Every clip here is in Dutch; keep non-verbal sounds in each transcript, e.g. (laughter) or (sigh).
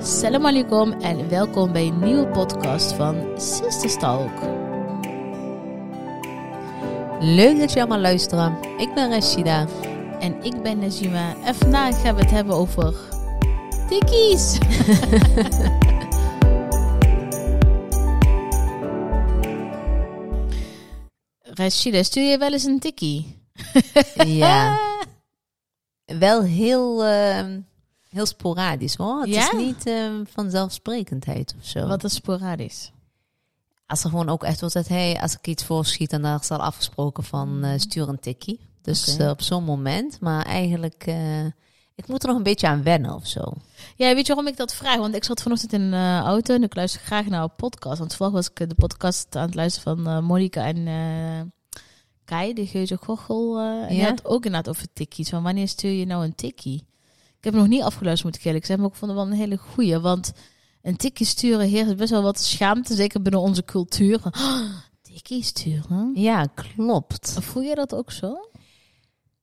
Salam alaikum en welkom bij een nieuwe podcast van Sisters Talk. Leuk dat je allemaal luistert. Ik ben Rashida. En ik ben Najima. En vandaag gaan we het hebben over... Tikkies! (laughs) Rashida, stuur je wel eens een tikkie? Ja. Wel heel, ehm, heel sporadisch hoor. Het Ja? is niet ehm, vanzelfsprekendheid of zo. Wat is sporadisch? Als er gewoon ook echt wordt dat hey, als ik iets voorschiet, dan is er afgesproken van eh, stuur een tikkie. Dus Mm. Oké. eh, op zo'n moment. Maar eigenlijk, eh, ik moet er nog een beetje aan wennen of zo. Ja, weet je waarom ik dat vraag? Want ik zat vanochtend in een auto en ik luister graag naar een podcast. Want toevallig was ik eh, de podcast aan het luisteren van eh Monica en eh, Kai, de Geuze Gochel. eh, en die Ja? had ook inderdaad over tikkies. Van wanneer stuur je nou een tikkie? Ik heb hem nog niet afgeluisterd, moet ik eerlijk zeggen. Maar ik vond het wel een hele goeie. Want een tikkie sturen heerst best wel wat schaamte. Zeker binnen onze cultuur. (gasps) Van, "Oh, tikkie sturen? Ja, klopt. Voel je dat ook zo?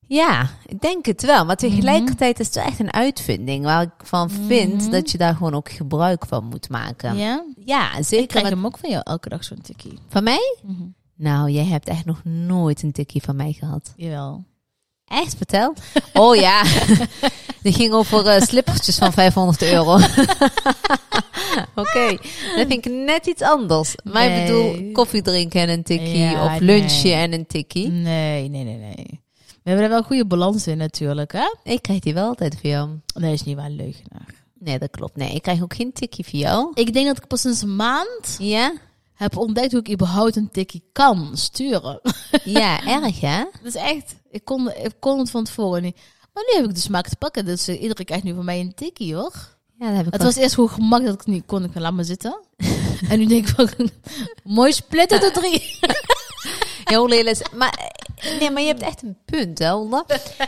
Ja, ik denk het wel. Maar tegelijkertijd is het wel echt een uitvinding waar ik van vind Mhm. dat je daar gewoon ook gebruik van moet maken. Ja, Ik zeker. krijg met- hem ook van jou elke dag zo'n tikkie. Van mij? Mhm. Nou, jij hebt echt nog nooit een tikkie van mij gehad. Jawel. Echt, vertel. (laughs) Oh ja, die ging over eh, slippertjes van 500 euro. (laughs) Oké, dat vind ik net iets anders. Maar ik Nee. bedoel, koffie drinken en een tikkie. Ja, of lunchen nee. en een tikkie. Nee, nee, nee, nee. We hebben er wel een goede balans in natuurlijk, hè? Ik krijg die wel altijd via jou. Nee, is niet waar, leugenaar. Nee, dat klopt. Nee, ik krijg ook geen tikkie via jou. Ik denk dat ik pas sinds een maand Ja? heb ontdekt hoe ik überhaupt een tikkie kan sturen. (laughs) Ja, erg hè? Dat is echt, ik kon, ik kon het van tevoren niet. Maar nu heb ik de smaak te pakken, dus eh, iedereen krijgt nu van mij een tikkie, hoor. Ja, dat heb ik Het wel- was eerst gewoon gemakkelijk dat ik het niet kon, ik dacht, laat maar (laughs) zitten. en nu denk ik van, (laughs) mooi splitten de drie. heel lelijk. Maar, eh, nee, maar je hebt echt een punt, hè, Olda?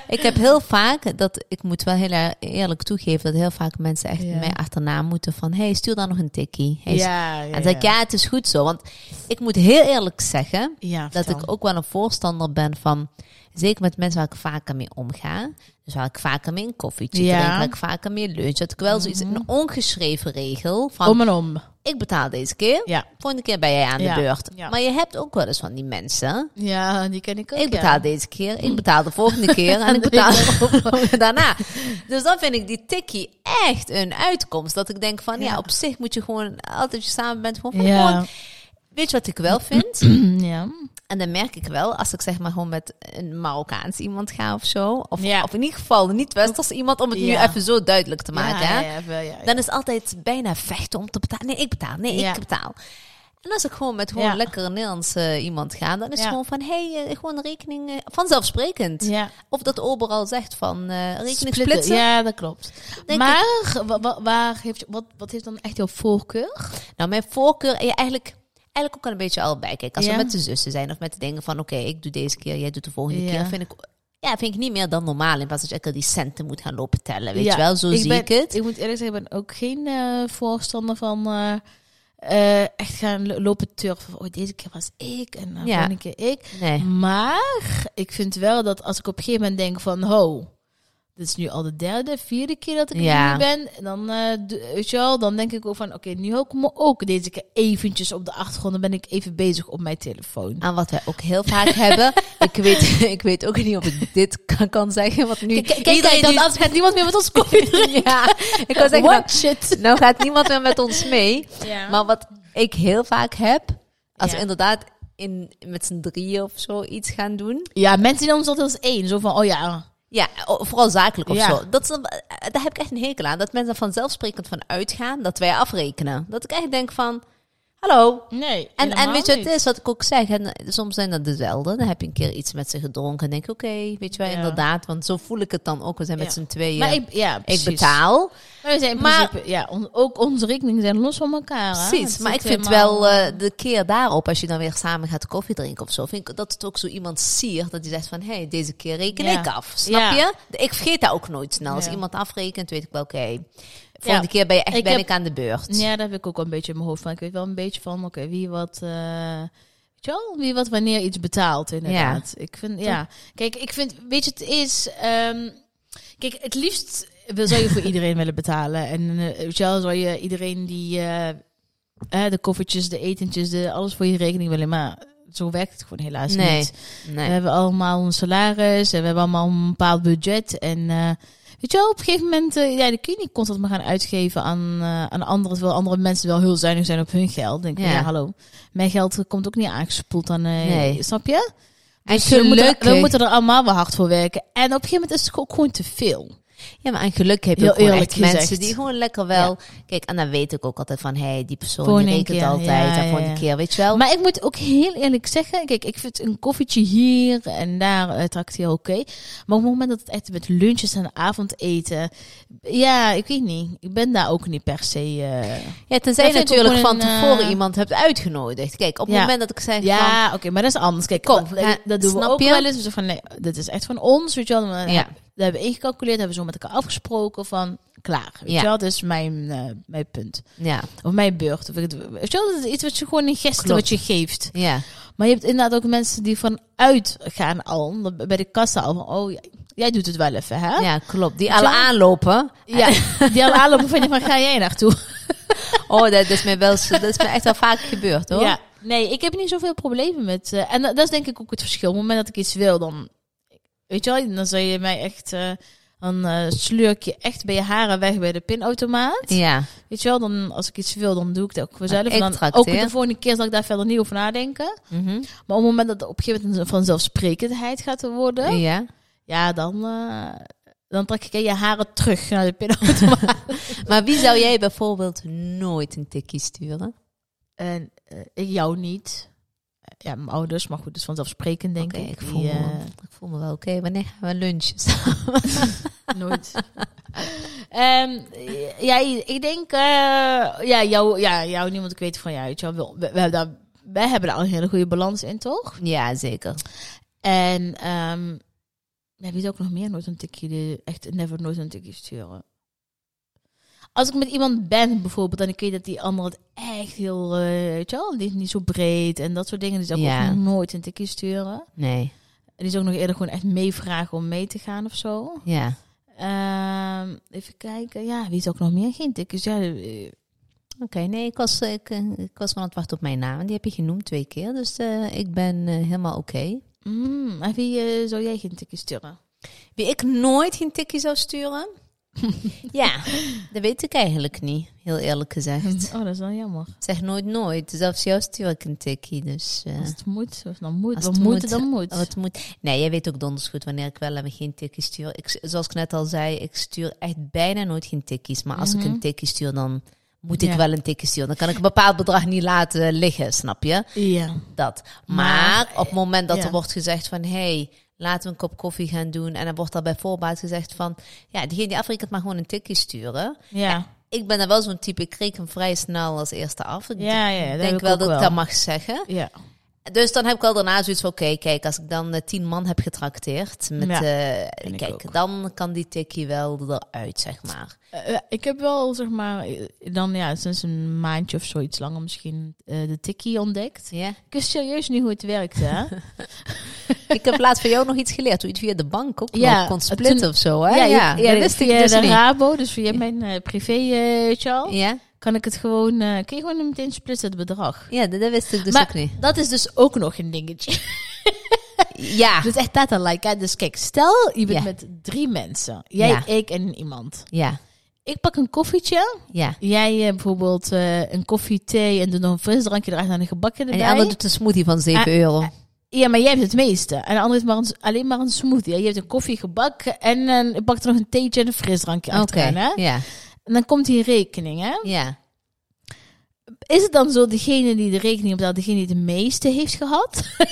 Ik heb heel vaak, dat, ik moet wel heel eer- eerlijk toegeven, dat heel vaak mensen echt Ja. mij achterna moeten van, hey, stuur daar nog een tikkie. (laughs) Hey, stuur- ja. en dan zeg ik, ja, het is goed zo. Want ik moet heel eerlijk zeggen, Ja, dat ik ook wel een voorstander ben van, zeker met mensen waar ik vaker mee omga, dus waar ik vaker mee een koffietje Ja. Mhm. drink, waar ik vaker mee lunch, dat ik wel zoiets, een ongeschreven regel van, Om en om. ik betaal deze keer, Ja. volgende keer ben jij aan Ja. de beurt. Ja. Maar je hebt ook wel eens van die mensen, Ja, die ken ik ook, ik ja. Mm. betaal deze keer, ik betaal de volgende keer (laughs) en ik de betaal (laughs) daarna. Dus dan vind ik die tikkie echt een uitkomst. Dat ik denk van, ja, Ja. op zich moet je gewoon, altijd als je samen bent, gewoon van, Ja. gewoon, weet je wat ik wel (clears throat) vind? (clears throat) ja. En dan merk ik wel, als ik zeg maar gewoon met een Marokkaans iemand ga of zo, of, Ja. of in ieder geval niet Westers iemand, om het Ja. nu even zo duidelijk te maken, ja, hè? ja, wel, ja, ja. dan is het altijd bijna vechten om te betalen. Nee, ik betaal. Nee, Ja. ik betaal. En als ik gewoon met gewoon Ja. lekker Nederlands eh, iemand ga, dan is Ja. het gewoon van, hé, hey, eh, gewoon een rekening, eh, vanzelfsprekend. Ja. Of dat de ober al zegt van, eh rekening splitsen. Ja, dat klopt. Denk maar wa- wa- waar heeft, wat, wat heeft dan echt jouw voorkeur? Nou, mijn voorkeur, ja, eigenlijk, eigenlijk ook al een beetje allebei. Kijk, als Ja. we met de zussen zijn of met de dingen van, oké, ik doe deze keer, jij doet de volgende Ja. keer, vind ik, ja, vind ik niet meer dan normaal. In plaats dat je elke die centen moet gaan lopen tellen, weet Ja, je wel? Zo zie ben- ik het. Ik moet eerlijk zeggen, ik ben ook geen eh, voorstander van eh, eh, echt gaan lo- lopen turven. Van, Oh, deze keer was ik en de Ja. volgende keer ik. Nee. Maar ik vind wel dat als ik op een gegeven moment denk van... Ho, dit is nu al de derde, vierde keer dat ik Ja. hier ben. Dan, eh, d- weet je wel, dan denk ik ook van... Oké, nu hou ik me ook deze keer eventjes op de achtergrond. Dan ben ik even bezig op mijn telefoon. Aan wat wij ook heel vaak (laughs) hebben. Ik weet, (laughs) ik weet ook niet of ik dit kan, kan zeggen. Want nu. Kijk, kijk, kijk, iedereen dat die- anders gaat niemand meer met ons (laughs) koffie drinken. Ja, ik kan zeggen. Nou, What shit. nou gaat niemand meer met ons mee. Ja. Maar wat ik heel vaak heb. Als Ja. we inderdaad in, met z'n drieën of zo iets gaan doen. ja, mensen zien ons altijd als één. Zo van, oh ja. Ja, o- vooral zakelijk of Ja. zo. Dat is, dan- eh, daar heb ik echt een hekel aan. Dat mensen er vanzelfsprekend van uitgaan dat wij afrekenen. Dat ik echt denk van, hallo. Nee, En, en weet je wat het is, wat ik ook zeg? En eh, soms zijn dat dezelfde. Dan heb je een keer iets met ze gedronken en denk ik, oké, weet je wel, Ja. inderdaad. Want zo voel ik het dan ook. We zijn Ja. met z'n tweeën. Maar ik, ik, ja, precies. betaal. Maar we zijn in Maar- principe, ja, on- ook onze rekeningen zijn los van elkaar. hè. Precies. Het Maar ik zit vind helemaal- wel eh, de keer daarop, als je dan weer samen gaat koffie drinken of zo, vind ik dat het ook zo iemand siert. Dat die zegt van, hé, hey, deze keer reken Ja. ik af. Snap Ja. je? De- Ik vergeet dat ook nooit snel. Als Ja. iemand afrekent, weet ik wel, oké. Volgende Ja. keer ben, je echt, Ik ben heb- ik aan de beurt. Ja, dat heb ik ook wel een beetje in mijn hoofd. Maar ik weet wel een beetje van, oké, wie wat... eh, weet je wel, wie wat wanneer iets betaalt, inderdaad. Ik vind, ja. Kijk, ik vind, weet je, het is... ehm, kijk, het liefst wil, zou je (laughs) voor iedereen willen betalen. En eh zelf zou je iedereen die eh, eh, de koffertjes, de etentjes, de, alles voor je rekening willen. Maar zo werkt het gewoon helaas Nee. niet. Nee. We hebben allemaal een salaris en we hebben allemaal een bepaald budget. En eh, weet je wel, op een gegeven moment, eh, ja, de kliniek kon dat maar gaan uitgeven aan, eh, aan anderen. Terwijl andere mensen wel heel zuinig zijn op hun geld. Denk ik, Ja. ja, hallo. Mijn geld komt ook niet aangespoeld aan, eh, Nee. snap je? en Dus we moeten, gelukkig, we moeten er allemaal wel hard voor werken. En op een gegeven moment is het ook gewoon te veel. ja, maar en geluk heb je Heel ook gewoon eerlijk echt mensen gezegd. die gewoon lekker wel... Kijk, en dan weet ik ook altijd van... Hé, hey, die persoon Gewoon die een rekent keer, altijd. ja, en ja, gewoon ja. een keer, weet je wel. Maar ik moet ook heel eerlijk zeggen, kijk, ik vind een koffietje hier en daar eh, trakt heel oké. Maar op het moment dat het echt met lunches en avondeten, ja, ik weet niet. Ik ben daar ook niet per se. eh, ja, tenzij je dat vind ik natuurlijk ook van gewoon een, tevoren eh, iemand hebt uitgenodigd. Kijk, op het Ja. moment dat ik zeg van... ja, oké, maar dat is anders. Kijk, Kom, dat, hè, dat doen we snap ook je? wel eens. We zeggen van, nee, dit is echt van ons, weet je wel. We, Ja. we hebben ingecalculeerd, hebben we zo met elkaar afgesproken van, klaar, weet Ja. je wel. Dat is mijn, eh, mijn punt. Ja, Of mijn beurt. Of, weet je wel, dat is iets wat je gewoon in gesten, Klopt. wat je geeft. ja. Maar je hebt inderdaad ook mensen die vanuit gaan al, bij de kassa al van, oh, jij- jij doet het wel even, hè? ja, klopt. Die Weet je alle wel? aanlopen. Ja, die al aanlopen van, waar ga jij naartoe? (laughs) Oh, dat is mij, wel, eens- dat is mij echt wel vaak gebeurd, hoor. Ja. Nee, ik heb niet zoveel problemen met, eh, en dat dat is denk ik ook het verschil. Op het moment dat ik iets wil, dan, weet je wel, dan zou je mij echt, eh, dan eh, slurk je echt bij je haren weg bij de pinautomaat. Ja, Weet je wel, dan, als ik iets wil, dan doe ik het ook Maar vanzelf. ik En Dan, ook trakteer. de volgende keer zal ik daar verder niet over nadenken. Mhm. Maar op het moment dat het op een gegeven moment een vanzelfsprekendheid gaat worden, ja. Ja, dan, eh, dan trek ik je haren terug naar de pinautomaat. Maar wie zou jij bijvoorbeeld nooit een tikkie sturen? (laughs) en eh, ik jou niet. Ja, mijn ouders, maar goed, dus vanzelfsprekend denk Oké, ik. ik, Die, voel me, (laughs) eh, ik voel me wel oké. Wanneer gaan we lunchen? (laughs) nooit. (laughs) Ehm, ja, ik denk, eh, ja, jou, ja, jou niet, want ik weet van jou. weet je wel, we, we hebben daar, wij hebben daar een hele goede balans in, toch? ja, zeker. En ehm ja, wie zou ook nog meer nooit een tikje, de- echt never nooit een tikje sturen? Als ik met iemand ben bijvoorbeeld en ik weet dat die ander het echt heel, eh, weet je wel, die is niet zo breed en dat soort dingen, die zou ik Ja. ook nog nooit een tikje sturen. Nee, En die zou ik nog eerder gewoon echt meevragen om mee te gaan of zo. ja. Ehm, even kijken, ja, wie zou ook nog meer geen tikjes? Ja, eh, Oké, nee, ik was, eh, ik, eh, ik was van het wachten op mijn naam. Die heb je genoemd twee keer, dus eh, ik ben eh, helemaal oké. mm, en wie eh, zou jij geen tikje (laughs) sturen? Wie ik nooit geen tikkie zou sturen? (laughs) ja, dat weet ik eigenlijk niet, heel eerlijk gezegd. Oh, dat is wel jammer. Zeg nooit nooit. Zelfs jou stuur ik een tikkie, dus... eh, Als het moet, of dan moet, Als dan het moet, moet, dan moet. Oh, het moet. Nee, jij weet ook donders goed wanneer ik wel en geen tikkie stuur. Ik, zoals ik net al zei, ik stuur echt bijna nooit geen tikkies. Maar als ik Mhm. een tikkie stuur, dan moet ik Ja. wel een tikkie sturen. Dan kan ik een bepaald bedrag niet laten liggen, snap je? Ja. Dat. Maar Maar, op het moment dat ja. er wordt gezegd van... hey, laten we een kop koffie gaan doen. En dan wordt daar bij voorbaat gezegd van... Ja, diegene die afrekent mag gewoon een tikkie sturen. ja. Ik ben dan wel zo'n type, ik reken vrij snel als eerste af. Ik Ja, ja, dat heb denk ik wel ook dat ik wel. dat mag zeggen. Ja. Dus dan heb ik wel daarna zoiets van, oké, kijk, als ik dan eh, tien man heb getrakteerd, met, Ja, eh, vind ik kijk, ook. dan kan die tikkie wel eruit, zeg maar. Eh, eh, ik heb wel, zeg maar, eh, dan ja, sinds een maandje of zoiets langer misschien eh, de tikkie ontdekt. Ja. Ik wist serieus niet hoe het werkte, (laughs) hè? (laughs) ik heb laatst van jou nog iets geleerd, hoe je het via de bank ook Ja, nog kon splitten toen- of zo, hè? Ja, je- dat wist ik via dus de niet. Rabo, dus via mijn eh privé eh, chal, Ja? kan ik het gewoon, eh kun je gewoon meteen splitsen het bedrag. ja, dat, dat wist ik dus Maar- ook niet. Dat is dus ook nog een dingetje. (laughs) Ja, Dus echt dat dan, like, hè. dus kijk, stel je bent Ja. met drie mensen. Jij, Ja. ik en iemand. ja, Ik pak een koffietje. ja. Jij eh, bijvoorbeeld eh, een koffie, thee en doet nog een frisdrankje eruit en een gebakje En erbij. Ah, die ander doet een smoothie van 7 euro. Ja, maar jij hebt het meeste. En de ander heeft maar een, alleen maar een smoothie. hè. Je hebt een koffiegebak en een, je bakt er nog een theetje en een frisdrankje Oké, achteraan. Hè? ja, En dan komt die rekening. Hè? ja. Is het dan zo degene die de rekening betaalt, degene die de meeste heeft gehad? (laughs)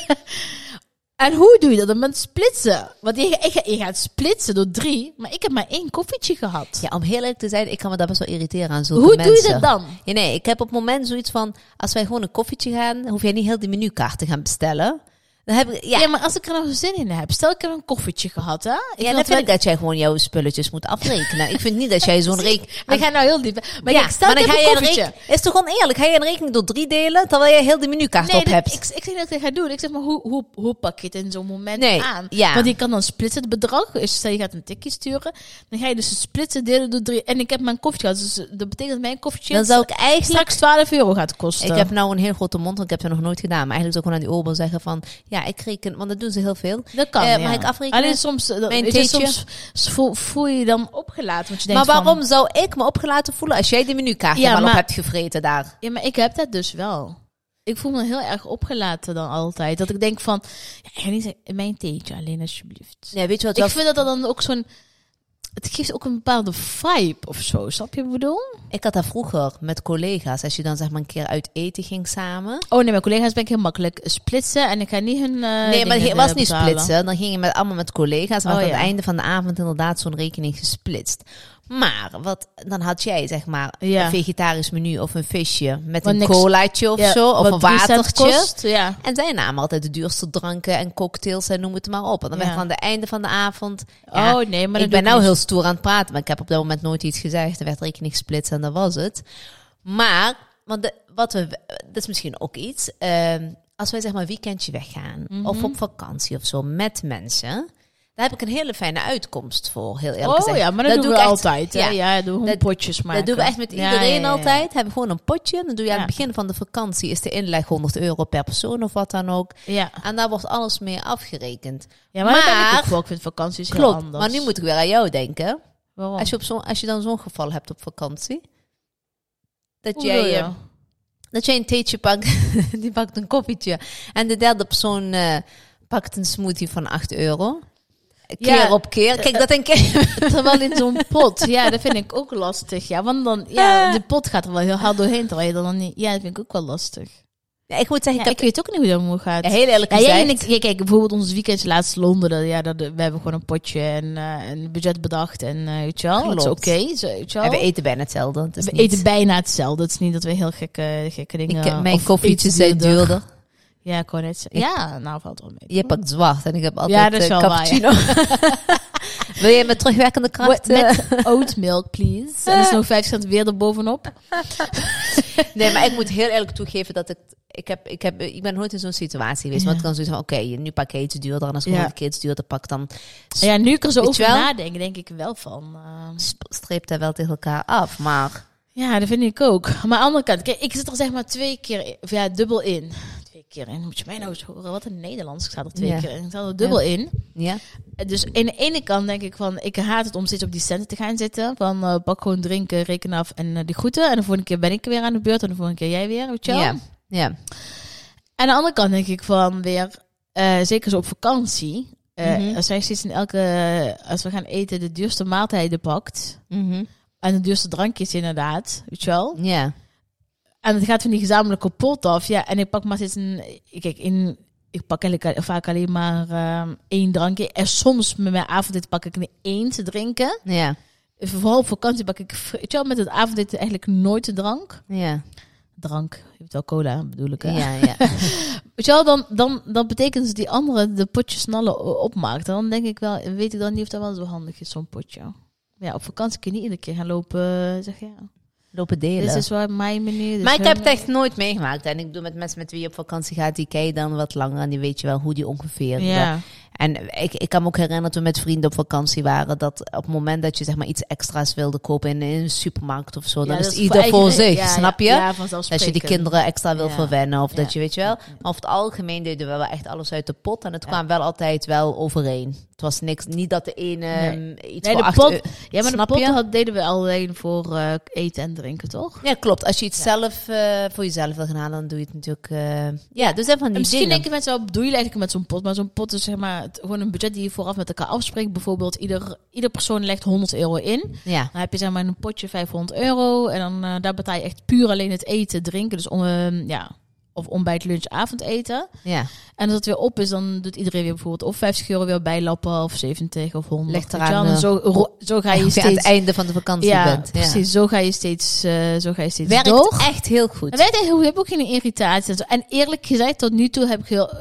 en hoe doe je dat dan met splitsen? Want je, je, je gaat splitsen door drie, maar ik heb maar één koffietje gehad. Ja, om heel eerlijk te zijn, ik kan me daar best wel irriteren aan zulke hoe mensen. doe je dat dan? Ja, nee, ik heb op het moment zoiets van... Als wij gewoon een koffietje gaan, hoef jij niet heel die menukaart te gaan bestellen. Dan heb ik, ja, Ja. maar als ik er nou zin in heb. Stel, ik heb een koffietje gehad, hè? Ik ja, dan vind ik dat jij gewoon jouw spulletjes moet afrekenen. ik vind niet dat (laughs) jij zo'n rekening... We gaan nou heel diep. Maar ja, ik stel, maar dan ik ga heb je een een koffietje. rekening... Is toch oneerlijk? Ga je een rekening door drie delen, terwijl je heel de menukaart op dat- hebt? Ik, ik zeg niet dat ik dat ga doen. Ik zeg maar, hoe, hoe, hoe pak je het in zo'n moment Nee, aan? ja. Want je kan dan splitsen het bedrag. Dus stel je gaat een tikje sturen. Dan ga je dus splitsen delen door drie. En ik heb mijn koffietje gehad. Dus dat betekent dat mijn koffietje dan zou ik eigenlijk... straks 12 euro gaat kosten. Ik heb nou een heel grote mond, want ik heb dat nog nooit gedaan. Maar eigenlijk zou ik gewoon aan die oorbel zeggen van... Ja, ik reken... Want dat doen ze heel veel. dat kan, Eh, ja. mag ik afrekenen? Alleen soms, eh, dat- Mijn weet je, theetje? soms voel, voel je je dan opgelaten. Want je maar denkt waarom Van, zou ik me opgelaten voelen als jij de menukaart Ja, er wel maar- op hebt gevreten daar? ja, maar ik heb dat dus wel. Ik voel me heel erg opgelaten dan altijd. Dat ik denk van, ja, ik ga niet zeggen, mijn theetje alleen alsjeblieft. Nee, weet je wat? Ik vind dat dat dan ook zo'n... Het geeft ook een bepaalde vibe of zo, snap je wat ik bedoel? Ik had dat vroeger met collega's. Als je dan zeg maar een keer uit eten ging samen. Oh nee, mijn collega's ben ik heel makkelijk splitsen en ik ga niet hun eh, nee, maar dingen, het was eh, niet betalen. splitsen. Dan ging je met, allemaal met collega's. Maar Oh, aan ja. het einde van de avond inderdaad zo'n rekening gesplitst. Maar wat, dan had jij zeg maar Ja. een vegetarisch menu of een visje met Wat een niks- colaatje of Ja, zo. Of wat een drie cent watertje. kost, ja. En zij namen altijd de duurste dranken en cocktails en noem het maar op. En dan Ja. werd aan het einde van de avond... ja, oh nee, maar ik ben nou heel stoer aan het praten, maar ik heb op dat moment nooit iets gezegd. Er werd rekening gesplitst en dat was het. Maar, want de- wat we, dat is misschien ook iets. ehm, als wij zeg maar een weekendje weggaan Mhm. of op vakantie of zo met mensen, daar heb ik een hele fijne uitkomst voor, heel eerlijk Oh gezegd. ja, maar dat, doen doe we ik echt- altijd. Ja, ja. ja, doen we Dat- potjes maken. Dat doen we echt met Ja, iedereen ja, ja. altijd. Hebben we gewoon een potje. Dan doe je aan Ja. het begin van de vakantie is de inleg 100 euro per persoon of wat dan ook. Ja, En daar wordt alles mee afgerekend. ja maar, dat ben ik Maar- ook wel. Ik vind vakanties heel Klopt, anders. Oh. maar nu moet ik weer aan jou denken. Waarom? Als je, op zo'n- als je dan zo'n geval hebt op vakantie. Dat Hoe jij, bedoel je? eh, dat jij een theetje pakt, (laughs) die pakt een koffietje. En de derde persoon eh, pakt een smoothie van 8 euro. Keer Ja, op keer. Kijk, dat denk ik. Terwijl in zo'n pot, ja, dat vind ik ook lastig. Ja, want dan, ja, Eh. de pot gaat er wel heel hard doorheen, terwijl je er dan niet... Ja, dat vind ik ook wel lastig. Nee, ik moet zeggen, Ja, ik ik weet ook niet hoe dat moet gaat. heb heel eerlijk Ja, jij en gezegd. ik, ja, kijk, bijvoorbeeld ons weekend laatst Londen, dat, ja, dat, we hebben gewoon een potje en eh, een budget bedacht en eh weet je wel, het is Klopt. oké, zo, weet je wel. en we eten bijna hetzelfde. Het is We niet- eten bijna hetzelfde, het is niet dat we heel gekke, gekke ik, dingen... mijn of koffietjes iets zijn duurder. Ja, ik wou net zeggen. Ja, nou valt wel mee. Je pakt zwart en ik heb altijd Ja, dat is eh, wel waar, ja. cappuccino. (laughs) Wil je met terugwerkende kracht? eh, met (laughs) oat milk, please. En er is nog 5 cent weer (laughs) erbovenop. Nee, maar ik moet heel eerlijk toegeven dat ik... Ik, heb, ik, heb, ik ben nooit in zo'n situatie geweest. Ja. Want ik kan zoiets van, oké, nu pak ik iets duurder. En als ik Ja. nog een keer iets duurder pak, dan Ja, nu ik er zo Weet je over wel? nadenken, denk ik wel van... eh, sp- streep dat wel tegen elkaar af. Maar Ja, dat vind ik ook. Maar aan de andere kant, kijk, ik zit er zeg maar twee keer, in- of ja, dubbel in. Twee keer in, moet je mij nou eens horen. Wat een Nederlands, ik sta er twee Ja. keer in. Ik sta er dubbel in. ja, Dus aan de ene kant denk ik van, ik haat het om steeds op die centen te gaan zitten. Van, eh, pak gewoon drinken, reken af en eh, de groeten. En de volgende keer ben ik weer aan de beurt en de volgende keer jij weer, weet je wel. ja, ja. Aan de andere kant denk ik van weer, eh, zeker zo op vakantie. eh, Mhm. Als wij steeds in elke, als we gaan eten, de duurste maaltijden pakt. Mhm. En de duurste drankjes inderdaad, weet je wel. ja. En het gaat van die gezamenlijke pot af. Ja, en ik pak maar steeds een. Kijk, in, ik pak eigenlijk al- vaak alleen maar ehm, één drankje. En soms met mijn avondeten pak ik een één te drinken. ja, Vooral op vakantie pak ik. v- Weet je wel, met het avondeten eigenlijk nooit de drank. ja, Drank. Je hebt wel cola, bedoel ik. hè? ja, ja. Weet je wel, dan, dan, dan betekent dat die andere de potjes snallen o- opmaakt. En dan denk ik wel, weet ik dan niet of dat wel zo handig is, zo'n potje. Maar Ja, op vakantie kun je niet iedere keer gaan lopen. eh, Zeg ja. Lopen delen. Dit is waar mijn dus menu. dit is Dus maar ik hun heb het echt nooit meegemaakt. En ik doe met mensen met wie je op vakantie gaat, die ken je dan wat langer. En die weet je wel hoe die ongeveer... menu. eh, Ja. En ik, ik kan me ook herinneren toen we met vrienden op vakantie waren, dat op het moment dat je zeg maar iets extra's wilde kopen in, in een supermarkt of zo, dan Ja, is dat ieder voor, eigen- zich, ja, snap je? Ja, ja, Dat je die vanzelfsprekend. kinderen extra wil Ja. verwennen of dat Ja. je, weet je wel. Maar over het algemeen deden we wel echt alles uit de pot en het kwam wel altijd wel overeen. Het was niks, niet dat de ene Nee. eh, iets Nee, voor de acht pot, eu- ja, maar snap de je? pot had, deden we alleen voor eh, eten en drinken, toch? Ja, klopt. Als je iets zelf eh, voor jezelf wil gaan halen, dan doe je het natuurlijk... eh, ja, dus even van die Misschien dingen. denken mensen wel, bedoel je eigenlijk met zo'n pot? Maar zo'n pot is zeg maar het- gewoon een budget die je vooraf met elkaar afspreekt. Bijvoorbeeld, ieder, ieder persoon legt 100 euro in. Ja, Dan heb je zeg maar een potje 500 euro. En dan eh, daar betaal je echt puur alleen het eten, drinken. Dus om, eh, ja, of ontbijt, lunch, avondeten. Ja, En als het weer op is, dan doet iedereen weer bijvoorbeeld of 50 euro weer bijlappen of 70 of 100. Ligt weet je wel. eraan, En zo, ro- zo ga Of eh, je je (laughs) aan steeds... het einde van de vakantie ja, bent. Ja. precies. Zo ga je steeds, eh, zo ga je steeds Werkt door. echt heel En goed. wij denken, we hebben ook geen irritatie. en zo. En eerlijk gezegd, tot nu toe heb ik heel...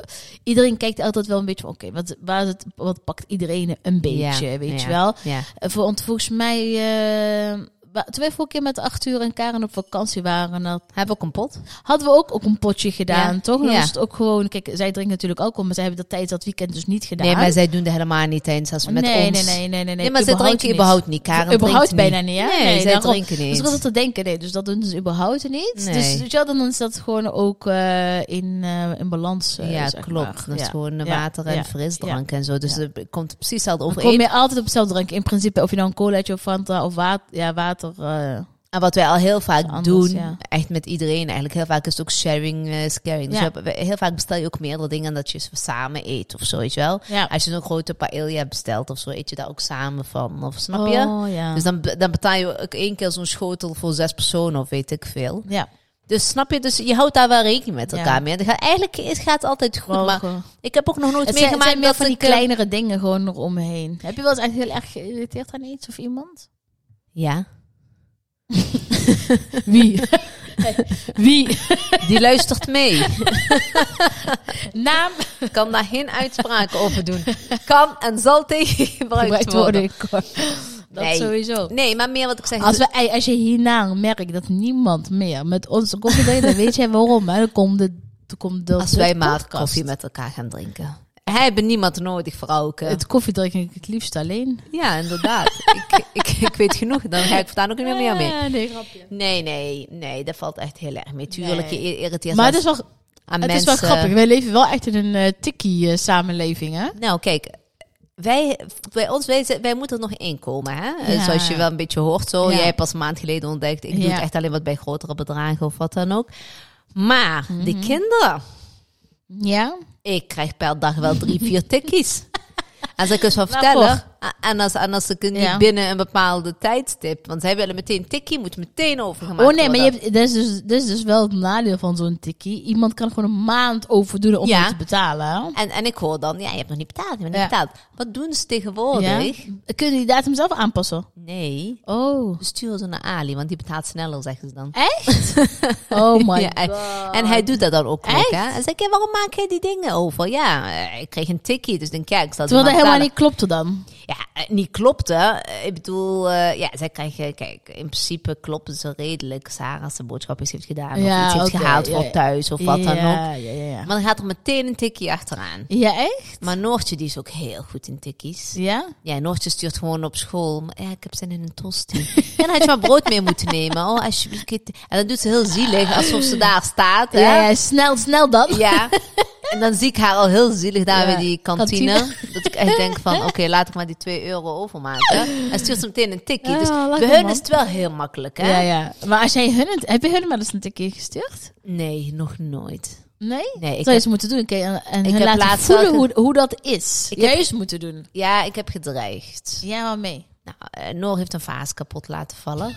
Iedereen kijkt altijd wel een beetje van... Oké, wat, waar is het- wat pakt iedereen een beetje, Ja, weet ja, je wel? Ja. Eh, Voor, want volgens mij... eh, wa- toen wij vorige keer met Arthur en Karen op vakantie waren... dat Heb ook een pot. hadden we ook, ook een potje gedaan, Ja, toch? En dan ja. was het ook gewoon... Kijk, zij drinken natuurlijk alcohol, maar zij hebben dat tijdens dat weekend dus niet gedaan. Nee, maar zij doen dat helemaal niet eens als we met nee, nee, ons. nee, nee, nee, nee. Nee, maar ze drinken niks. überhaupt niet. Karen überhaupt drinkt bijna niet, hè? Nee, Nee, zij daarom. drinken niet. Dus ik was het te denken, nee, dus dat doen ze überhaupt niet. Nee. Dus weet je wel, dan is dat gewoon ook eh, in, eh, in balans. eh, ja, zeg maar. klopt. Dat is Ja. gewoon eh, Ja, water en ja, frisdrank en zo. Dus Ja. het komt precies hetzelfde Dan kom overeen. je altijd op hetzelfde drank. In principe, of je nou een colaatje of Fanta of water, ja, water eh, En wat wij al heel vaak Anders, doen, ja. echt met iedereen eigenlijk, heel vaak is het ook sharing, eh, is caring. Dus Ja. we hebben- we- heel vaak bestel je ook meerdere dingen dan dat je ze samen eet of zo, weet je wel. ja. Als je zo'n grote paella bestelt of zo, eet je daar ook samen van, of snap je? Oh, ja. Dus dan, be- dan betaal je ook één keer zo'n schotel voor zes personen of weet ik veel. ja, Dus snap je, dus je houdt daar wel rekening met Ja. elkaar mee. Het gaat, eigenlijk het gaat altijd goed, gewoon- maar gewoon- ik heb ook nog nooit Het zijn, het meegemaakt zijn meer dat van die ik, eh, kleinere dingen gewoon eromheen. Heb je wel eens echt heel erg geïrriteerd aan iets of (laughs) iemand? Ja, (laughs) Wie? Wie? die luistert mee. Naam kan daar geen uitspraken over doen. Kan en zal tegen gebruikt worden. (laughs) Dat Nee. sowieso. Nee, maar meer wat ik zeg. Als, we, ey, als je hierna merkt dat niemand meer met ons koffie drinkt, dan weet jij waarom. Hè? Dan komt de, dan komt de als wij de maar podcast. koffie met elkaar gaan drinken. Hebben niemand nodig, vrouwke. Het koffie drink ik het liefst alleen. Ja, inderdaad. ik, ik, ik weet genoeg. Dan ga ik vandaan ook niet meer meer mee. Eh, nee, grapje. Nee, nee, nee. Dat valt echt heel erg mee. Tuurlijk, Nee. je irriteert maar aan- het is wel, aan het mensen. is wel grappig. Wij leven wel echt in een eh tikkie-samenleving, hè? Nou, kijk. Wij, bij ons, wij, zijn- wij moeten er nog in komen. Hè? Eh, Ja. Zoals je wel een beetje hoort. Zo. Ja. Jij hebt pas een maand geleden ontdekt. Ik doe Ja. het echt alleen wat bij grotere bedragen of wat dan ook. Maar Mhm. de kinderen. Ja? Ik krijg per dag wel drie, (laughs) vier tikkies. En ze ik eens van vertellen. En als, en als ik het niet Ja. binnen een bepaalde tijdstip. Want zij willen meteen tikkie, moet meteen overgemaakt Oh nee, maar worden. je hebt, dat, is dus, dat is dus wel het nadeel van zo'n tikkie. Iemand kan gewoon een maand overdoen om Ja. het te betalen. hè? En, en ik hoor dan, ja, je hebt nog niet betaald, je hebt nog Ja. niet betaald. Wat doen ze tegenwoordig? Kunnen die datum zelf aanpassen? Nee, Oh. we sturen ze naar Ali, want die betaalt sneller, zeggen ze dan. Echt? Oh my (laughs) Ja, en- En hij doet dat dan ook nog, Echt? hè. En zeg ik, ja, waarom maak jij die dingen over? Ja, eh, ik kreeg een tikkie, dus ik denk, ja, ik zal het Terwijl dat maar helemaal betalen. niet klopte dan. Ja, eh, niet klopte. Eh, Ik bedoel, eh, ja, zij krijgen, kijk, in principe kloppen ze redelijk. Sarah als ze boodschapjes heeft gedaan, Ja, of iets heeft oké, gehaald ja, ja. voor thuis, of wat dan ook. Ja, ja, ja. Maar dan gaat er meteen een tikkie achteraan. Ja, echt? Maar Noortje, die is ook heel goed in tikkies. Ja? Ja, Noortje stuurt gewoon op school. Maar ja, ik heb zin in een tosti. (laughs) Ja, dan had je maar brood mee moeten nemen. Oh, alsjeblieft. kind. En dan doet ze heel zielig, alsof ze daar staat. Hè? Ja, ja, snel, snel dan. Ja. En dan zie ik haar al heel zielig daar Ja, bij die kantine. kantine. Dat ik echt denk van, oké, laat ik maar die 2 euro overmaken. En stuurt ze meteen een tikkie. Ja, dus lekker, bij hun man. is het wel heel makkelijk, hè? Ja, ja. Maar als jij hun, heb je hun wel eens een tikkie gestuurd? Nee, nog nooit. Nee? Nee, ik Zou je eens moeten doen? Oké, en, en Ik hun heb laten laatst voelen wel hoe, hoe dat is. Ik Jij eens moeten doen. Ja, ik heb gedreigd. Ja, waarmee? Nou, eh, Noor heeft een vaas kapot laten (laughs) vallen.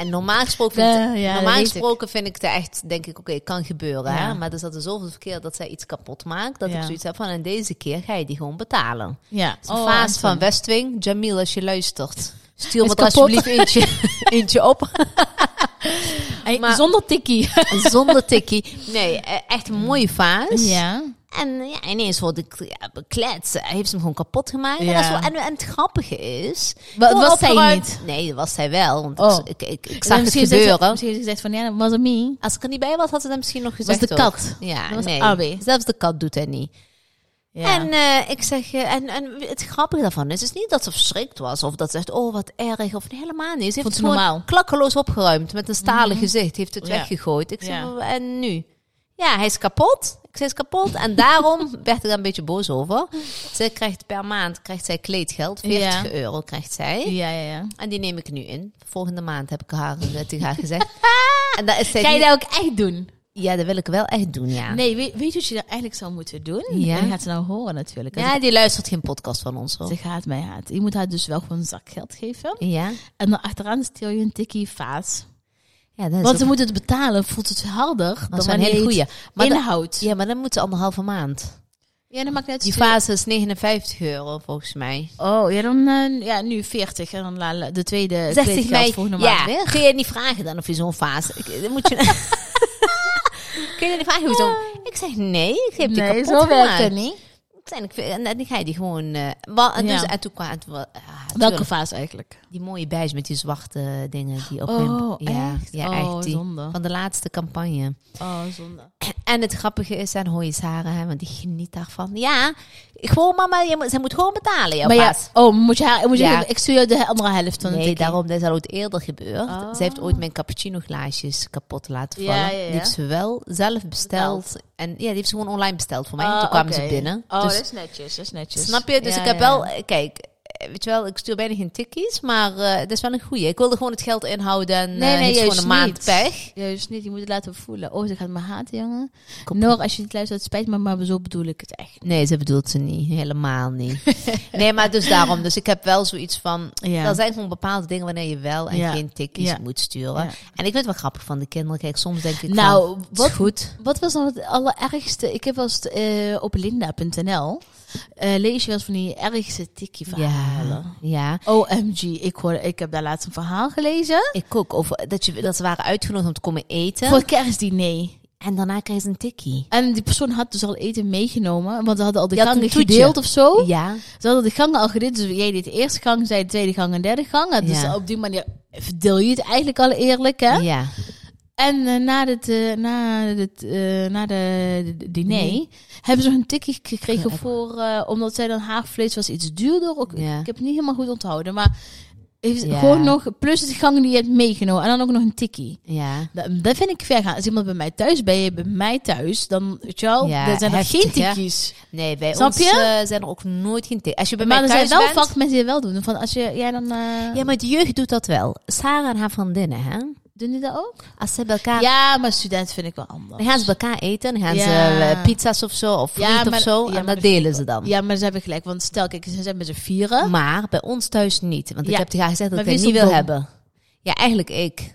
en normaal gesproken vind, Ja, ja, dat normaal weet ik. gesproken vind ik het echt, denk ik, oké, het kan gebeuren. Ja. Hè? Maar er zat er zoveel keer dat zij iets kapot maakt, dat Ja. ik zoiets heb van, en deze keer ga je die gewoon betalen. Ja. Het is een Oh, vaas Anton. van Westwing. Jamil, als je luistert, stuur Is me er kapot. alsjeblieft eentje, (laughs) eentje op. Hey, maar- Zonder tikkie. (laughs) Zonder tikkie. Nee, eh, echt een mooie vaas. Ja. En ja, ineens hoorde ik ja, kletsen. Hij heeft ze hem gewoon kapot gemaakt. En, Ja. dat is wel- en, en het grappige is... Wa- door was zij opgeruimd- niet? Nee, dat was zij wel. Want Oh. ik, ik, ik, ik En zag het misschien heeft ze- gebeuren. Misschien heeft ze gezegd van, ja, dat was het me. Als ik er niet bij was, had ze dat misschien nog was gezegd de ook. kat. Ja, Dat was nee. Abi. Zelfs de kat doet hij niet. Ja. En eh, ik zeg, eh, en, en het grappige daarvan is, is niet dat ze verschrikt was of dat ze zegt, oh wat erg, of nee, helemaal niet. Ze heeft Vond het ze gewoon normaal. Mhm. klakkeloos opgeruimd met een stalen gezicht, heeft het Ja. weggegooid. Ik zeg, Ja. "Oh, en nu? Ja, hij is kapot. Ik zei, hij is kapot. En daarom (laughs) werd ik daar een beetje boos over. Ze krijgt per maand, krijgt zij kleedgeld, 40 Ja. euro krijgt zij. ja, ja, ja. En die neem ik nu in. Volgende maand heb ik haar, eh, tegen haar (laughs) gezegd. en dat is zij Ga je niet- dat ook echt doen? Ja, dat wil ik wel echt doen, ja. Nee, weet, weet je wat je dat eigenlijk zou moeten doen? Ja. Je gaat ze nou horen natuurlijk. Als Ja, die luistert geen podcast van ons hoor. Ze gaat mij haat. Je moet haar dus wel gewoon zakgeld geven. Ja. En dan achteraan stel je een tikkie vaas. Ja, dat is Want ze ook- moeten het betalen, voelt het harder dat dan is wel een hele wanneer je goeie. het Maar da- inhoudt. ja, maar dan moeten ze anderhalve maand. Ja, dan maakt het Die uit. fase is 59 euro volgens mij. Oh, ja, dan eh, ja, nu 40 en dan la- la- de tweede 60 mei. volgende maand Ja, weer. kun je niet vragen dan of je zo'n fase... Ik- Dan moet je... (laughs) kun je niet vragen hoe zo'n... Ik zeg nee, ik heb die Nee, kapot zo werkt gemaakt. het niet. En, ik, vind- en dan ga je die gewoon... eh, wa- en dus, Ja. en toen kwam... het wel- ah, Welke tuurlijk, fase eigenlijk? Die mooie beige met die zwarte dingen die op Oh, mijn... Ja, echt? ja, Oh, echt. Die, zonde. Van de laatste campagne. Oh, zonde. En het grappige is, dan hoor je Sarah, hè, want die geniet daarvan. Ja, gewoon mama, je moet, zij moet gewoon betalen, jouw Maar ja, baas. oh, moet je haar, moet je, Ja. ik stuur jou de andere helft van de Nee, tikkie. daarom, dat is al ooit eerder gebeurd. Oh. Zij heeft ooit mijn cappuccino glaasjes kapot laten Ja, vallen. ja, ja. Die heeft ze wel zelf besteld. Ah, En ja, die heeft ze gewoon online besteld voor mij. en toen kwamen ze binnen. Oh, dus, dat is netjes, dat is netjes. snap je? Dus Ja, ik heb ja, wel, ja. eh, kijk, eh, weet je wel, ik stuur bijna geen tikkies, maar eh dat is wel een goeie. Ik wilde gewoon het geld inhouden en Nee, eh, nee, heeft ze juist gewoon een maand niet. pech. Juist niet, je moet het laten voelen. Oh, ze gaat me haten, jongen. Kom. Noor, als je dit luistert, het spijt me, maar zo bedoel ik het echt. Nee, ze bedoelt ze niet. Helemaal (laughs) niet. nee, maar dus daarom. Dus ik heb wel zoiets van, Ja. Er zijn gewoon bepaalde dingen wanneer je wel en Ja. geen tikkies Ja. moet sturen. Ja. En ik vind het wel grappig van de kinderen. Kijk, soms denk ik van, Nou, het is wat, goed. wat was dan het allerergste? Ik heb wel eens eh, op linda.nl eh, lees je wel eens van die ergste tikkie verhalen. Ja, ja, OMG, ik, hoor, ik heb daar laatst een verhaal gelezen. ik ook. Over dat, je, dat ze waren uitgenodigd om te komen eten. Voor kerstdiner. En daarna kreeg ze een tikkie. En die persoon had dus al eten meegenomen, want ze hadden al de Je had gangen een toetje. gedeeld of zo. Ja, Ze hadden de gangen al gedeeld, dus jij deed de eerste gang, zij de tweede gang en derde gang. En Dus Ja. op die manier verdeel je het eigenlijk al eerlijk, hè? ja. En eh, na, dit, eh, na, dit, eh, na de, de- de diner Nee. hebben ze een tikkie gekregen Ja. voor, eh, omdat zij dan haagvlees was iets duurder. Ook, Ja. Ik heb het niet helemaal goed onthouden, maar heeft Ja. gewoon nog, plus de gangen die je hebt meegenomen en dan ook nog een tikkie. ja. Dat, dat vind ik ver gaan. Als iemand bij mij thuis ben je bij mij thuis, dan weet je wel, Ja, dan zijn er heftig, geen hè? tikkies. Nee, bij Snap ons je? eh, zijn er ook nooit geen tikkies. Als je bij Maar mij er thuis zijn wel bent... vaak mensen die het wel doen. Van als je, jij dan, eh, Ja, maar de jeugd doet dat wel. Sarah en haar vriendinnen, hè. doen die dat ook? Als ze bij elkaar... Ja, maar student vind ik wel anders. Dan gaan ze bij elkaar eten. Dan gaan Ja. ze eh, pizza's of zo, of Ja, friet of maar- zo. ja, en maar dat dat delen ze dan. Ja, maar ze hebben gelijk. Want stel, kijk, ze zijn met z'n vieren. Maar bij ons thuis niet. Want ik Ja. heb tegen haar gezegd dat Maar ik het wie niet is wil dan hebben. Ja, eigenlijk (laughs) ik.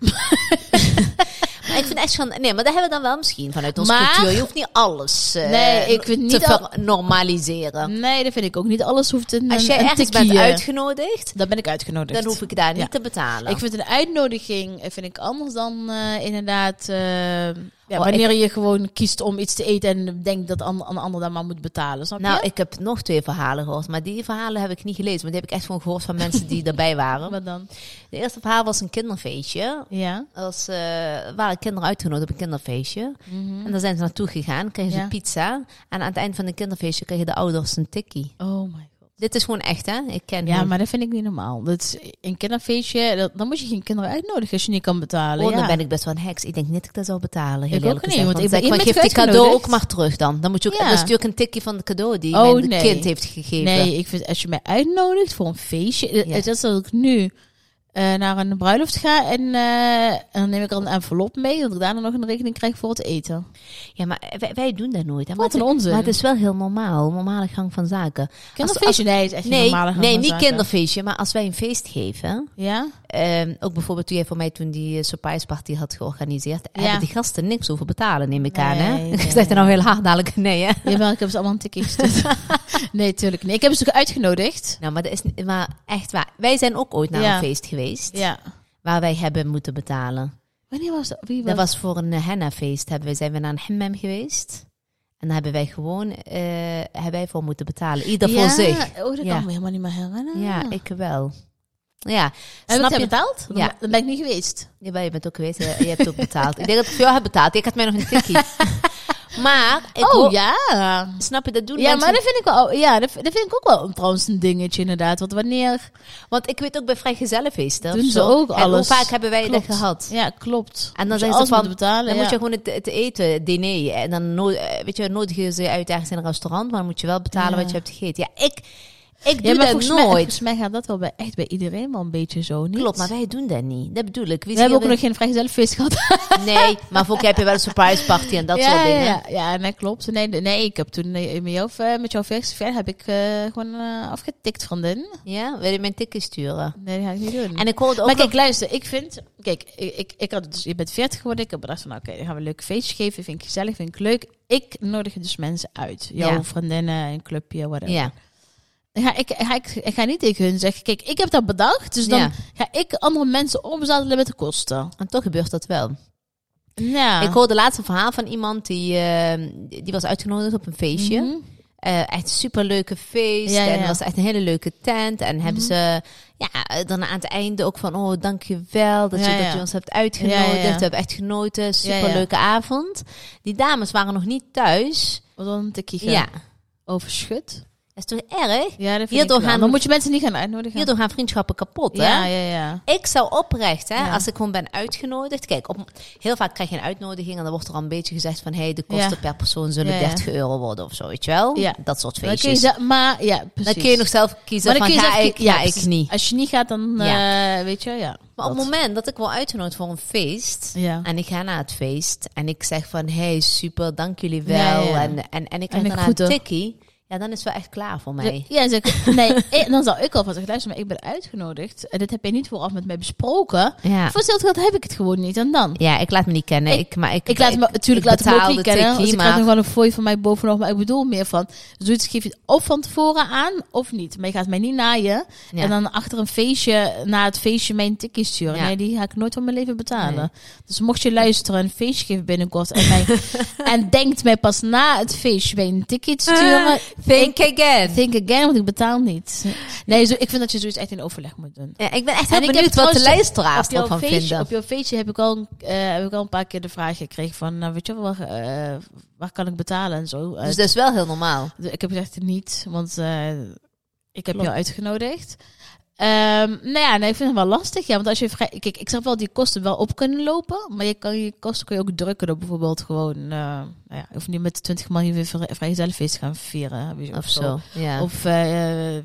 maar ik vind echt van... Nee, maar dat hebben we dan wel misschien vanuit onze Maar- cultuur. Je hoeft niet alles eh, Nee, ik vind niet te al- ver- normaliseren. Nee, dat vind ik ook niet. Alles hoeft een Als jij Mm, een ergens tikkie, bent eh, uitgenodigd, Dan ben ik uitgenodigd. dan hoef ik daar niet Ja. te betalen. Ik vind een uitnodiging eh, vind ik anders dan eh, inderdaad... eh, ja, Oh, ik- wanneer je gewoon kiest om iets te eten en denkt dat an- een ander dan maar moet betalen. Snap nou, je? ik heb nog twee verhalen gehoord, maar die verhalen heb ik niet gelezen. Maar die heb ik echt gewoon gehoord van (laughs) mensen die erbij waren. Wat dan? De eerste verhaal was een kinderfeestje. Ja. Als, eh, waren kinderen uitgenodigd op een kinderfeestje. En daar zijn ze naartoe gegaan, kregen Ja. ze pizza. En aan het eind van het kinderfeestje kregen de ouders een tikkie. Oh my god. Dit is gewoon echt, hè? Ik ken Ja, hem. maar dat vind ik niet normaal. Dat is een kinderfeestje, dat, dan moet je geen kinderen uitnodigen als je niet kan betalen. Oh, ja. dan ben ik best wel een heks. Ik denk niet dat ik dat zou betalen. Heel Ik ook eerlijk niet, gezegd. want ik ben- dan zeg je maar, bent geef die cadeau ook uitgenodigd. maar terug dan. Dan moet je ook, Ja. dan stuur ik een tikkie van het cadeau die Oh, mijn nee. kind heeft gegeven. Nee, ik vind als je mij uitnodigt voor een feestje, Ja. het is dat ik nu eh, naar een bruiloft ga en eh, en dan neem ik er een envelop mee, dat ik daarna nog een rekening krijg voor het eten. Ja, maar wij, wij doen dat nooit. Hè? Maar Wat een het- onzin. Maar het is wel heel normaal. Normale gang van zaken. Kinderfeestje? Als- als- nee, is echt een Nee, normale gang nee van niet zaken. kinderfeestje. Maar als wij een feest geven... Ja? Ehm, ook bijvoorbeeld toen jij voor mij toen die eh, surprise party had georganiseerd. Ja. Hebben die gasten niks over betalen, neem ik Nee, aan. Hè? nee. (laughs) Ik zeg er nou heel hard dadelijk nee. Hè? Jawel, ik heb ze allemaal een tikje (laughs) gestuurd. nee, tuurlijk niet. Ik heb ze toch uitgenodigd? Nou, maar, dat is, niet- maar echt waar. Wij zijn ook ooit naar Ja. een feest geweest Ja. waar wij hebben moeten betalen. Wanneer was dat? Wie was Dat was voor een eh, henna-feest. Hebben wij, zijn we naar een hammam geweest. En daar hebben wij gewoon eh, hebben wij voor moeten betalen. Ieder ja. voor zich. Oh, dat Ja. Ah. kan me helemaal niet meer herinneren. Ja, ik wel. Ja, Heb ik snap dat je? betaald? Dan- Ja. Dan ben ik niet geweest. Jawel, je bent ook geweest. Je, je hebt ook betaald. Ik denk dat ik voor jou heb betaald. Ik had mij nog een (laughs) tikkie. maar, ik hoor- oh, ja. Snap je, dat doen Ja, mensen. maar dat vind ik wel. oh, Ja, dat, vind- dat vind ik ook wel een- trouwens een dingetje inderdaad. Want wanneer Want ik weet ook bij vrijgezellenfeesten. of doen ze zo. ook En hoe alles? vaak hebben wij Klopt. dat gehad? Ja, klopt. En dan Moet zijn ze alles van, moeten betalen. Dan ja. moet je gewoon het, het eten, het diner. En dan no- eh, weet je, nodig je ze uit ergens in een restaurant. Maar dan moet je wel Ja. betalen wat je hebt gegeten. Ja, ik... Ik Ja, doe maar dat volgens mij, nooit. volgens mij gaat dat wel bij, echt bij iedereen wel een beetje zo, (laughs) niet? Klopt, maar wij doen dat niet. Dat bedoel ik. Wie we hebben ook hier nog geen vrijgezellenfeest gehad. weer- Nee, maar voor heb je wel een surprise party en (laughs) dat ja, soort dingen. Ja, ja, nee, klopt. Nee, nee, nee, ik heb toen eh, met jouw, eh, met jouw verse ver heb ik eh, gewoon eh, afgetikt van den. Ja, wil je mijn tikken sturen? Nee, dat ga ik niet doen. En ik hoorde ook maar kijk, nog- luister, ik vind... Kijk, ik, ik, ik had dus, je bent 40 geworden. Ik heb bedacht van, oké, dan gaan we een leuk feestje geven. Vind ik gezellig, vind ik leuk. Ik nodig dus mensen uit. Jouw Ja. vriendinnen, een clubje, whatever. Ja, Dan Ga, ik, ga, ik, ik ga niet tegen hun zeggen, kijk, ik heb dat bedacht. Dus dan Ja. ga ik andere mensen opzadelen met de kosten. en toch gebeurt dat wel. Ja. Ik hoorde laatst een verhaal van iemand die, eh, die was uitgenodigd op een feestje. Mhm. Eh, echt superleuke feest. Ja, ja, En ja. Mhm. het was echt een hele leuke tent. En hebben ze ja, eh, dan aan het einde ook van... Oh, dankjewel dat, Ja, je, ja. dat je ons hebt uitgenodigd. Ja, ja, ja. We hebben echt genoten. Superleuke avond. Die dames waren nog niet thuis. Wat dan een tikje Ja. ja. overschut. Dat is toch erg? Ja, dat vind Hierdoor ik wel. gaan- Dan moet je mensen niet gaan uitnodigen. Hierdoor gaan vriendschappen kapot, hè? ja, ja, ja. Ik zou oprecht, hè, Ja. als ik gewoon ben uitgenodigd. Kijk, op, heel vaak krijg je een uitnodiging en dan wordt er al een beetje gezegd van... hey, de kosten Ja. per persoon zullen Ja, ja. 30 euro worden of zo, weet je wel? Ja. Dat soort Dan kun je feestjes. ze- maar ja, precies. Dan kun je nog zelf kiezen Maar dan van kun je ga zelf ik, kie- ja, ja, ik precies. niet. Als je niet gaat, dan eh, weet je, ja. Maar op Dat. het moment dat ik word uitgenodigd voor een feest... Ja. en ik ga naar het feest en ik zeg van... hey, super, dank jullie wel. Ja, ja. En, en, en ik En krijg ik daarna een groet er. tikkie. Ja, dan is het wel echt klaar voor mij. Ja, zeg (laughs) ik, nee, ik- dan zal ik al van zeggen, luister, maar ik ben uitgenodigd. En dit heb je niet vooraf met mij besproken. Ja, Voor hetzelfde geld heb ik het gewoon niet. En dan? ja ik laat me niet kennen. Ik, maar ik, Ik laat me natuurlijk laat ik me ook betaal niet de kennen. tikkie, Als ik krijg maar- nog wel een fooi van mij bovenop. Maar ik bedoel meer van, zoiets geef je het of van tevoren aan of niet. Maar je gaat mij niet naaien. Ja. En dan achter een feestje, na het feestje, mijn tikkie sturen. Ja. Nee, die ga ik nooit van mijn leven betalen. Dus mocht je luisteren, een feestje geven binnenkort. En, (laughs) mij, en denkt mij pas na het feestje bij een tikkie te sturen. Eh, Think again. Think again, want ik betaal niet. Nee, zo, ik vind dat je zoiets echt in overleg moet doen. Ja, ik ben echt En heel ik heb benieuwd wat de trouwens luisteraars op jouw ervan feestje, vinden. Op jouw feestje heb ik al, een- eh, heb ik al een paar keer de vraag gekregen van, nou, weet je wel, waar, eh, waar kan ik betalen en zo. Eh, Dus dat is wel heel normaal. ik heb gezegd niet, want eh, ik heb Klopt. jou uitgenodigd. Ehm, nou ja, nee, ik vind het wel lastig. Ja, want als je vrij, kijk, ik snap wel die kosten wel op kunnen lopen, maar je kan je kosten kun je ook drukken door bijvoorbeeld gewoon, eh, nou ja, je hoeft niet met 20 man hier weer vrij- vrijgezellenfeest te gaan vieren weet je, Of zo. Ja. Of eh,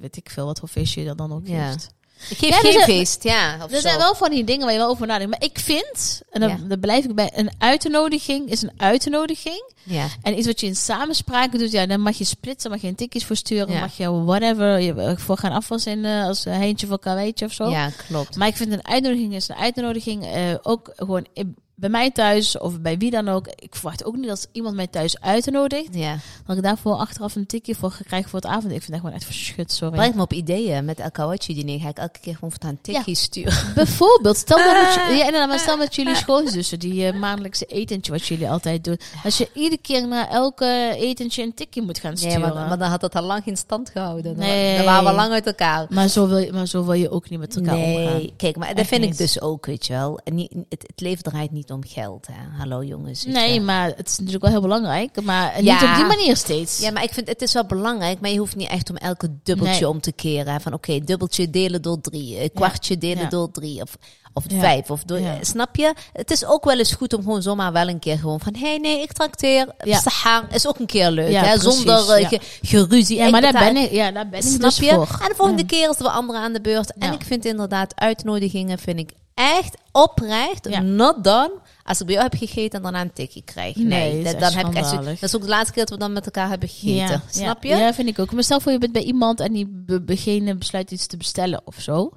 weet ik veel wat voor feestje je dan, dan ook Ja. geeft. ik geef Ja, er geen zijn- feest, ja. Of Er zo. zijn wel van die dingen waar je wel over nadenkt. Maar ik vind, en dan, Ja. daar blijf ik bij, een uitnodiging is een uitnodiging. Ja. En iets wat je in samenspraak doet, ja, dan mag je splitsen, mag je een tikjes voor sturen, Ja. mag je whatever, je eh, voor gaan afwas in eh, als een heentje voor kaweetje of zo. ja, klopt. Maar ik vind een uitnodiging is een uitnodiging. eh, ook gewoon in- bij mij thuis of bij wie dan ook. Ik verwacht ook niet als iemand mij thuis uitnodigt, Ja. dat ik daarvoor achteraf een tikje voor ga krijgen voor het avond. Ik vind dat gewoon echt verschut, sorry. Breng me op ideeën. Met El Kawachi diner ga ik elke keer gewoon voortaan tikkies sturen. Bijvoorbeeld, stel dat, met, Ah. ja, inderdaad, maar stel dat jullie schoonzussen, die eh, maandelijkse etentje wat jullie altijd doen. Als je iedere keer naar elke etentje een tikje moet gaan Nee, sturen. maar, maar, maar dan had dat al lang geen stand gehouden. Dan, Nee. dan waren we lang uit elkaar. zo wil je, maar zo wil je ook niet met elkaar omgaan. Nee, kijk, maar dat Echt vind ik niet. dus ook, weet je wel. En niet, het, het leven draait niet om geld, hè. Hallo jongens. weet je Dus Nee, wel. maar het is natuurlijk wel heel belangrijk. Maar niet Ja. op die manier steeds. Ja, maar ik vind het is wel belangrijk, maar je hoeft niet echt om elke dubbeltje Nee. om te keren. hè. Van oké, dubbeltje delen door drie, eh, kwartje delen Ja. door drie of, of Ja. vijf. Of door, Ja. eh, Snap je? Het is ook wel eens goed om gewoon zomaar wel een keer gewoon van hé hey, nee, ik trakteer. Ja. Sahar is ook een keer leuk. Ja, hè? precies, Zonder eh, ja. ge- geruzie. Ja, maar daar betaal- ben ik, ja, daar ben ik Snap dus je? voor. En de volgende Ja. keer is er weer anderen aan de beurt. En Ja. ik vind inderdaad uitnodigingen vind ik echt oprecht, Ja. not done. Als ik bij jou heb gegeten en daarna een tikkie krijg. Nee, Nee, het is dat, echt dan heb ik echt, zo- schandalig. dat is ook de laatste keer dat we dan met elkaar hebben gegeten. Ja, Snap ja. je? Ja, vind ik ook. Maar stel voor je bent bij iemand en die be- begene besluit iets te bestellen of zo.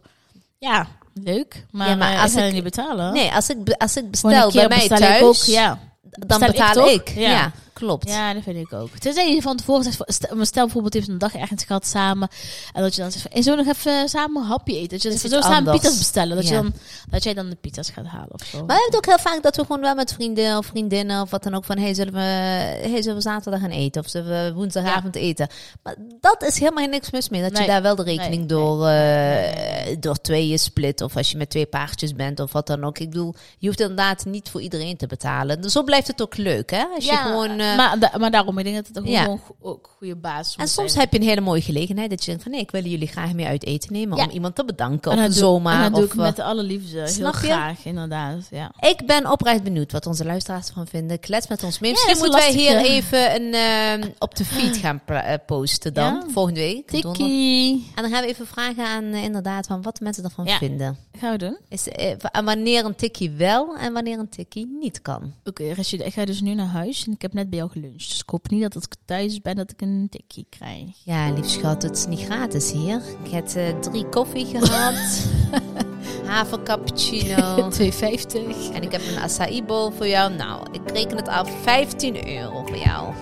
Ja, leuk. Maar, Ja, maar eh, als ik ga ik- het niet betalen. Nee, als ik, be- als ik Gewoon een bestel bij keer mij bestel ik thuis, ook, ja. dan Bestel ik betaal toch? ik. Ja. Ja. klopt. Ja, dat vind ik ook. Tenzij je van tevoren zegt, van- stel, maar stel bijvoorbeeld je hebt een dag ergens gehad samen. En dat je dan zegt, van, en zo nog even samen een hapje eten. Dat je Dat dan is zo iets samen anders. pizza's bestellen. Dat, je Ja. dan, dat jij dan de pizza's gaat halen of zo. Maar we hebben het ook heel vaak dat we gewoon wel met vrienden of vriendinnen of wat dan ook van, hey, zullen we, hey, zullen we zaterdag gaan eten of zullen we woensdagavond eten? Maar dat is helemaal niks mis mee. Dat Nee. je daar wel de rekening Nee. door, eh door tweeën split of als je met twee paardjes bent of wat dan ook. Ik bedoel, je hoeft inderdaad niet voor iedereen te betalen. Dus zo blijft het ook leuk, hè? Als je Ja, gewoon eh, eh, maar, da- maar daarom, ik denk dat het ook Ja. gewoon go- ook goede basis en moet soms zijn. heb je een hele mooie gelegenheid dat je denkt van nee, ik wil jullie graag mee uit eten nemen Ja. om iemand te bedanken En of dat doe- zomaar. En dat doe of, ik met alle liefde. Snap je? heel graag, inderdaad. Ja. eh, ik ben oprecht benieuwd wat onze luisteraars van vinden. Klets met ons mee. Ja, Misschien dat is moeten wij een hier lastige. even een, ehm, op de feed gaan pra- eh, posten dan Ja. volgende week. donderdag. Tikkie. En dan gaan we even vragen aan eh, inderdaad van wat mensen ervan Ja. vinden. Gaan we doen? Is, eh, wa- en wanneer een tikkie wel en wanneer een tikkie niet kan. Oké, Rashida, ik ga dus nu naar huis en ik heb net bij jou geluncht. Dus ik hoop niet dat als ik thuis ben dat ik een tikkie krijg. Ja, lief schat, het is niet gratis hier. Ik heb eh, drie koffie gehad. (laughs) Havercappuccino. 2,50. en ik heb een acai bowl voor jou. Nou, ik reken het af. 15 euro voor jou.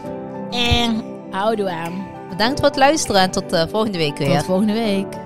En houdoe aan. Bedankt voor het luisteren en tot eh, volgende week weer. Tot volgende week.